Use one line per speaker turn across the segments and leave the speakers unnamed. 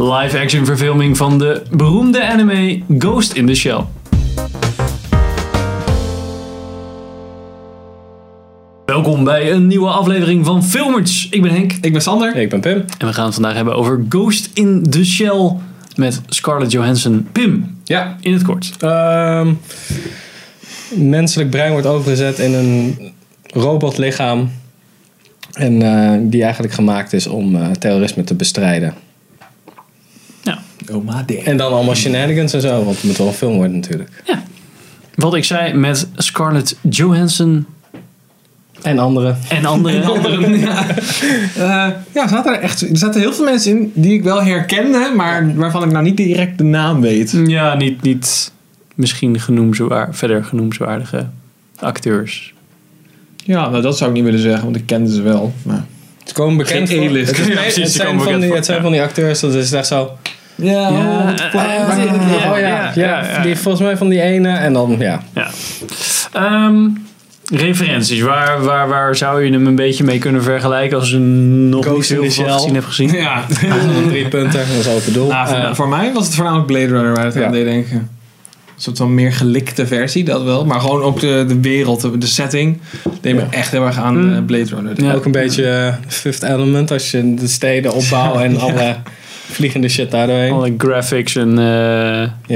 live-action verfilming van de beroemde anime Ghost in the Shell. Welkom bij een nieuwe aflevering van Filmers. Ik ben Henk
Ik ben Sander. Ik ben Pim.
en we gaan het vandaag hebben over Ghost in the Shell met Scarlett Johansson. Pim,
Ja.
in het kort.
Ehm, menselijk brein wordt overgezet in een robotlichaam. En eh, die eigenlijk gemaakt is om eh, terrorisme te bestrijden.
Nou,
Oma D.
En dan allemaal shenanigans en zo, want het moet wel een film worden natuurlijk.
ja. Wat ik zei met Scarlett Johansson
En andere.
en anderen.
eh, ja, zaten er, echt, er zaten heel veel mensen in die ik wel herkende, maar waarvan ik nou niet direct de naam weet.
Ja, niet, niet misschien genoemzwaar, verder genoemzwaardige acteurs.
Ja, nou dat zou ik niet willen zeggen, want ik kende ze wel. Maar...
Ze komen bekend
Geen
voor.
A-list.
Het, is-
Ja,
het
precies, ze
zijn,
komen
van
bekend
die,
voor,
het zijn
ja.
van die acteurs, dat is echt zo.
Ja,
Ja,
dat
eh,
klopt.
eh,
Maar-
eh,
ja.
oh ja, ja,
ja, ja.
Die, volgens mij van die ene. En dan, ja.
Ja. Ehm, referenties, waar, waar, waar zou je hem een beetje mee kunnen vergelijken als je nog
Ghost
niet
in
heel
the
veel
Shell.
gezien hebt gezien?
Drie punten, dat is ook het doel.
Nou, voor,
Eh,
voor mij was het voornamelijk Blade Runner waar het
Ja.
aan deed denken. Een soort van meer gelikte versie, dat wel. Maar gewoon ook de, de wereld, de, de setting. Deed me
Ja.
echt heel erg aan
Mm.
eh, Blade Runner. denken.
Ja.
Ook een beetje eh, Fifth Element als je de steden opbouwt en alle vliegende shit daardoorheen.
Alle graphics en... eh,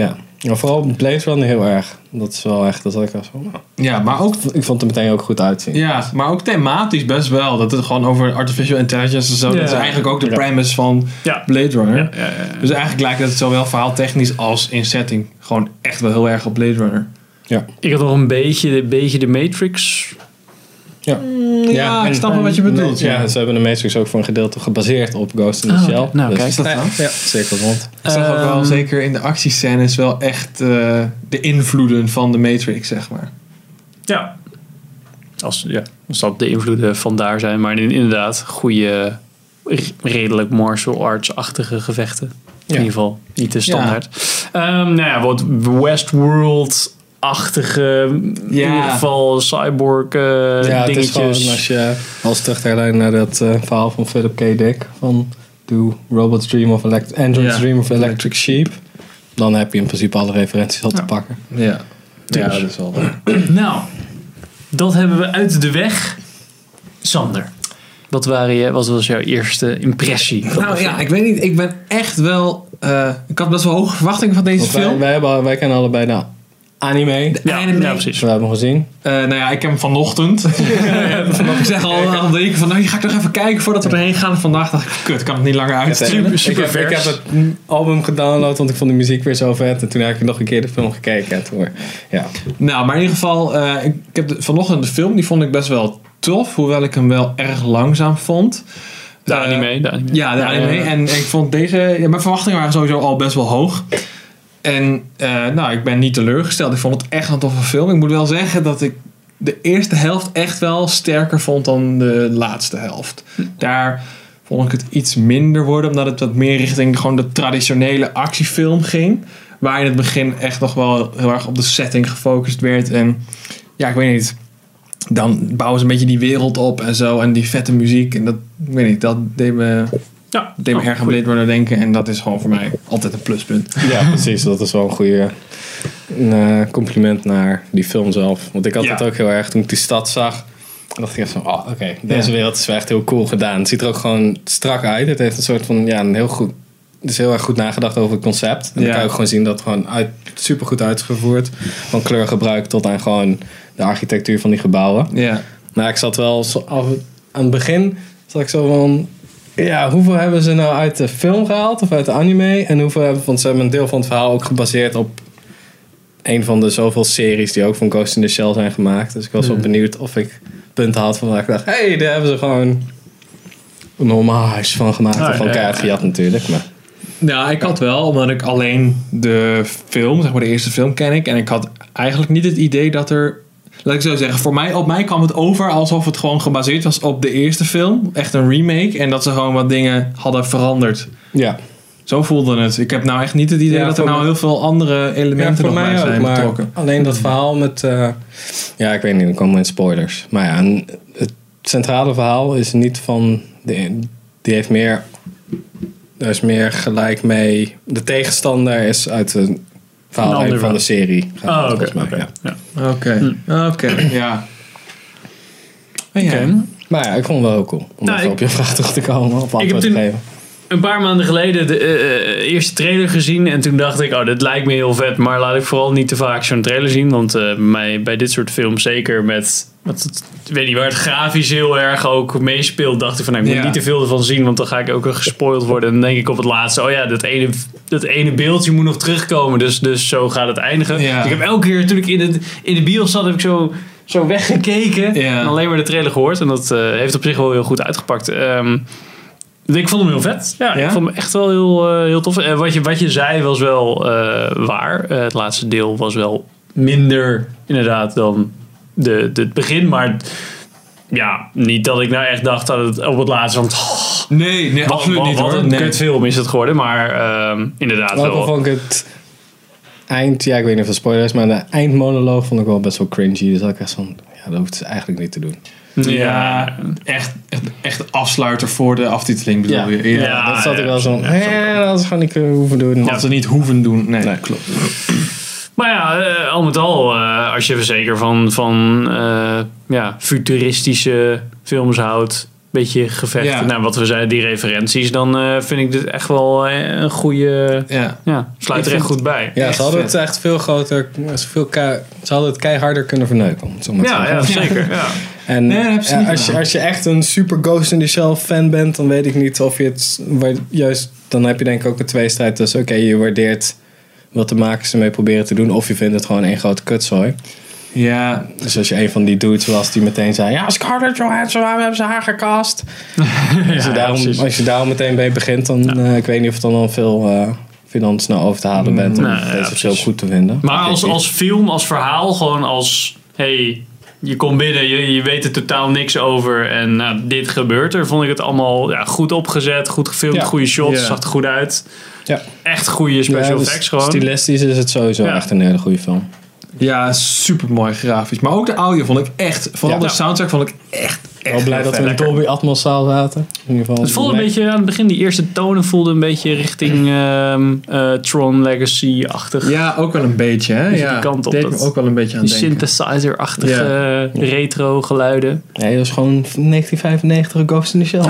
Ja. Maar vooral Blade Runner heel erg. Dat is wel echt, dat had ik wel zo.
Ja, maar ook
Ik vond het er meteen ook goed uitzien.
Ja, maar ook thematisch best wel. Dat het gewoon over artificial intelligence en zo.
Ja.
Dat is eigenlijk ook de
Ja.
premise van
ja.
Blade Runner.
Ja, ja, ja.
Dus eigenlijk lijkt het zowel verhaaltechnisch als in setting gewoon echt wel heel erg op Blade Runner.
Ik had nog een beetje, een beetje de Matrix.
Ja, ik
en-
snap wel wat je
en-
bedoelt.
Ja, Nou, ze hebben de Matrix ook voor een gedeelte gebaseerd op Ghost in the
Oh,
Shell. Dus
nou, kijk.
Is dat
ja,
dan?
ja, cirkel rond.
Ik zag ook wel,
Ehm,
zeker in de actiescènes, wel echt eh, de invloeden van de Matrix, zeg maar.
Ja. Als, ja, als dat de invloeden vandaar zijn. Maar in- inderdaad, goede, re- redelijk martial arts-achtige gevechten. In ieder geval, niet de standaard. Ehm, nou ja, wat Westworld-achtige, in
Ja.
ieder geval cyborg eh,
ja, het is gewoon eh,
dingetjes.
als je als terug herleidt naar dat eh, verhaal van Philip K. Dick van Do Robots Dream of Elect Androids
Ja.
Dream of Electric Sheep. Dan heb je in principe alle referenties al te
Ja.
pakken.
Ja. Ja,
Dus.
dat is wel
Nou, dat hebben we uit de weg. Sander, wat, waren je, wat was jouw eerste impressie? van de
Nou
film?
ja, ik weet niet. Ik ben echt wel... eh, ik had best wel hoge verwachtingen van deze
Want wij,
film.
wij, hebben, al- wij kennen allebei de anime.
Ja,
anime.
ja,
Dus
precies.
we hebben hem gezien.
Eh, nou ja, ik heb hem vanochtend. ik zeg al een weken van, nou, die ga ik nog even kijken voordat we erheen gaan. Vandaag dacht ik, kut, kan het niet langer uitstellen.
Super- super
ik, heb, ik
vers.
heb het mm, album gedownload, want ik vond de muziek weer zo vet. En toen heb ik nog een keer de film gekeken. En toen, weer- ja.
Nou, maar in ieder geval, eh, ik, ik heb de- vanochtend de film, die vond ik best wel tof. Hoewel ik hem wel erg langzaam vond.
De
Eh,
anime, de anime.
Ja, de anime.
ja.
En ik vond deze... Ja, mijn verwachtingen waren sowieso al best wel hoog. En eh, nou, ik ben niet teleurgesteld. Ik vond het echt een toffe film. Ik moet wel zeggen dat ik de eerste helft echt wel sterker vond dan de laatste helft. Daar vond ik het iets minder worden. Omdat het wat meer richting gewoon de traditionele actiefilm ging. Waar in het begin echt nog wel heel erg op de setting gefocust werd. En ja, ik weet niet dan bouwen ze een beetje die wereld op en zo. En die vette muziek. En dat, ik weet niet, dat deed me,
Ja,
deed me
Oh,
erg aan
goed.
Blade Runner denken. En dat is gewoon voor mij altijd een pluspunt.
ja, precies. Dat is wel een goede eh, compliment naar die film zelf. Want ik had
Ja.
het ook heel erg toen ik die stad zag. dacht ik echt van, oh, oké, deze
Ja.
wereld is wel echt heel cool gedaan. Het ziet er ook gewoon strak uit. Het heeft een soort van, ja, een heel goed... Het is heel erg goed nagedacht over het concept. En
Ja.
dan kan je ook gewoon zien dat het gewoon uit, supergoed uitgevoerd. Van kleurgebruik tot aan gewoon de architectuur van die gebouwen.
Ja.
Nou, ik zat wel zo af, aan het begin zat ik zo van. Ja, hoeveel hebben ze nou uit de film gehaald of uit de anime? En hoeveel hebben want ze hebben een deel van het verhaal ook gebaseerd op een van de zoveel series die ook van Ghost in the Shell zijn gemaakt. Dus ik was wel
Hmm.
benieuwd of ik punten had van waar ik dacht, hé, hey, daar hebben ze gewoon een normaal huis van gemaakt.
Ah,
of van
ja,
kaart
ja.
gejat natuurlijk. Maar
Nou, ik had wel, omdat ik alleen de film, zeg maar de eerste film ken ik. En ik had eigenlijk niet het idee dat er... Laat ik zo zeggen, voor mij, op mij kwam het over alsof het gewoon gebaseerd was op de eerste film. Echt een remake. En dat ze gewoon wat dingen hadden veranderd.
ja,
Zo voelde het. Ik heb nou echt niet het idee
Ja,
dat er
voor
nou
mij-
heel veel andere
ja
elementen
voor
nog bij
mij ook.
zijn
Maar
betrokken.
alleen
Mm-hmm.
dat verhaal met... eh, ja, ik weet niet, dan komen we in spoilers. Maar ja, een- het centrale verhaal is niet van... De, die heeft meer Daar is meer gelijk mee. De tegenstander is uit een
Een
verhaal
ander
van de
verhaal.
serie. gehaald,
Oh, oké.
volgens mij,
oké,
ja.
ja.
Oké, Hm. oké, ja. Maar ja.
Oké.
Maar ja, ik vond het wel heel cool. Om
Nou,
even
ik-
op je vraag terug te komen. Op antwoord
toen-
te geven.
Een paar maanden geleden de eh, eh, eerste trailer gezien. En toen dacht ik, oh, dit lijkt me heel vet. Maar laat ik vooral niet te vaak zo'n trailer zien. Want eh, mij, bij dit soort films, zeker met... Wat, het- ik weet niet waar het grafisch heel erg ook meespeelt. Dacht ik van, nou, ik moet
Ja.
niet te veel ervan zien. Want dan ga ik ook wel gespoild worden. En dan denk ik op het laatste, oh ja, dat ene, dat ene beeldje moet nog terugkomen. Dus, dus zo gaat het eindigen.
Ja.
Dus ik heb elke keer, toen ik in, het, in de bios zat, heb ik zo... Zo weggekeken
Ja.
en alleen maar de trailer gehoord. En dat eh, heeft op zich wel heel goed uitgepakt. Ehm, ik vond hem heel vet. Ja,
Ja?
ik vond hem echt wel heel, eh, heel tof. En wat je, wat je zei was wel eh, waar. Eh, het laatste deel was wel minder inderdaad dan de, de, het begin. Maar ja, niet dat ik nou echt dacht dat het op het laatste... Want, oh,
Nee, nee,
wat-
absoluut
wat-
niet
Wat
hoor.
een
Nee.
kutfilm is het geworden. Maar ehm, inderdaad
Ook al
wel.
vond ik het eind, ja, ik weet niet of het spoiler is, maar de eindmonoloog vond ik wel best wel cringy. Dus had ik echt van, ja, dat hoeft ze eigenlijk niet te doen.
Ja, echt, echt, echt de afsluiter voor de aftiteling bedoel je? Ja.
Ja,
dat zat ik
ja,
wel zo.
ja,
hè, dat is gewoon niet kunnen hoeven doen.
Had ze niet hoeven doen. Nee,
Nee.
klopt.
Maar ja, eh, al met al, eh, als je even zeker van, van eh, ja, futuristische films houdt, beetje gevechten,
Ja.
nou, wat we zeiden, die referenties, dan eh, vind ik dit echt wel eh, een goede.
Ja.
Ja, sluit
Ik
er echt
vind-
goed bij.
Ja,
Echt
ze hadden
vet.
het echt veel groter, veel kei- ze hadden het keiharder kunnen verneuken. Om het zo maar te
Ja,
zeggen.
ja, zeker. Ja.
En
Nee, dat hebben ze
ja,
niet
als, je,
gedaan.
als je echt een super Ghost in the Shell fan bent, dan weet ik niet of je het waar- juist. Dan heb je denk ik ook een tweestrijd tussen. Oké, je waardeert wat de makers ermee proberen te doen, of je vindt het gewoon één grote kutzooi.
Ja,
Dus als je een van die dudes was die meteen zei: Ja, Scarlett Johansson, waarom hebben ze haar gekast? als, je
ja,
Dus daarom,
precies.
als je daarom meteen mee begint, dan eh, ik weet niet of het dan al veel. eh of je dan snel over te halen bent om
nou, ja,
deze film
precies.
goed te vinden.
Maar
Ik
als,
weet
als film, als verhaal, gewoon als hey, je komt binnen, je, je weet er totaal niks over en nou, dit gebeurt er, vond ik het allemaal ja, goed opgezet, goed gefilmd,
Ja.
goede shots,
Ja.
zag er goed uit.
niet. ja.
Echt goede special
Ja, dus
effects gewoon.
Stilistisch is het sowieso
Ja.
echt een hele goede film.
ja super mooi grafisch. Maar ook de audio vond ik echt, vooral
Ja. nou,
de soundtrack vond ik echt, echt
Wel blij
heel
dat we
vet.
in de Dolby Atmos zaal zaten. In ieder geval.
Het voelde een beetje aan het begin, die eerste tonen voelden een beetje richting ehm, eh, Tron Legacy-achtig.
Ja, ook wel een beetje hè.
Beetje
Ja,
die kant op,
Deed
dat-
me ook wel een beetje aan
Die
denken.
synthesizer-achtige eh,
Ja.
retro geluiden.
Nee, dat was gewoon 1995 Ghost in the Shell.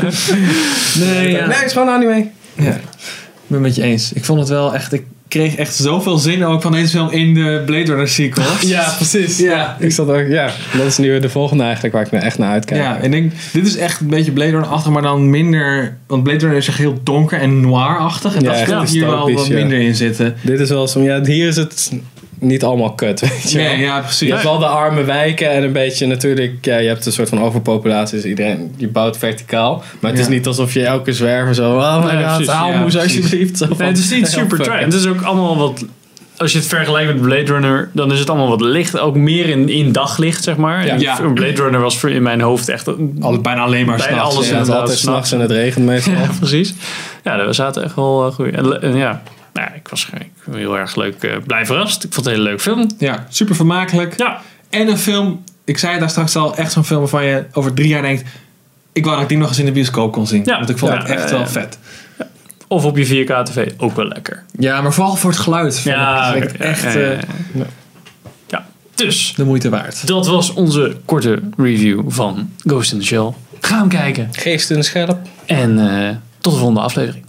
nee, ja.
Nee, het is gewoon anime.
Ja, ik ben het met je eens. Ik vond het wel echt. Ik kreeg echt zoveel zin ook van deze film in de Blade Runner sequel.
Ja, precies.
Ja.
Ik zat ook, ja, dat is nu weer de volgende eigenlijk waar ik nou echt naar uitkijk.
Ja, en ik denk, dit is echt een beetje Blade Runner-achtig, maar dan minder... Want Blade Runner is echt heel donker en noir-achtig. En
Ja,
dat
echt
gaat hier wel
dystopisch,
wat
ja.
minder in zitten.
Dit is wel zo'n, ja, hier is het niet allemaal kut, weet je wel.
Nee, ja,
Je
precies.
hebt wel de arme wijken en een beetje natuurlijk, ja, je hebt een soort van overpopulatie, dus iedereen, je bouwt verticaal. Maar het
Ja.
is niet alsof je elke zwerver zo, oh my
Nee,
god,
precies,
haal
ja,
moes
precies.
alsjeblieft. Zo van,
Nee, het is niet
heel
super
fuck.
trash. Het is ook allemaal wat... Als je het vergelijkt met Blade Runner, dan is het allemaal wat licht. Ook meer in, in daglicht, zeg maar.
Ja.
En
Ja.
Blade Runner was voor in mijn hoofd echt...
Al- bijna alleen maar
Bijna alles
Ja,
s'nachts. ja.
het is
inderdaad,
altijd
s'nachts.
s'nachts en het regent meestal.
Ja, precies. Ja, daar zaten echt wel eh, goeie. En, le- en ja, nou, ja, ik was ge- ik was heel erg leuk. eh, blij verrast. Ik vond het een hele leuk film.
Ja, super vermakelijk.
Ja,
En een film, ik zei het daar straks al, echt zo'n film waarvan je over drie jaar denkt... Ik wou dat ik die nog eens in de bioscoop kon zien.
Ja.
Want ik vond
Ja,
het echt
eh,
wel vet.
Of op je 4K TV, ook wel lekker.
Ja, maar vooral voor het geluid. vond ik-
Ja,
vind ik
oké,
het echt
ja, ja, ja.
eh,
Ja, dus
de moeite waard.
dat was onze korte review van Ghost in the Shell. Ga hem kijken.
Geest in de scherp.
En eh, tot de volgende aflevering.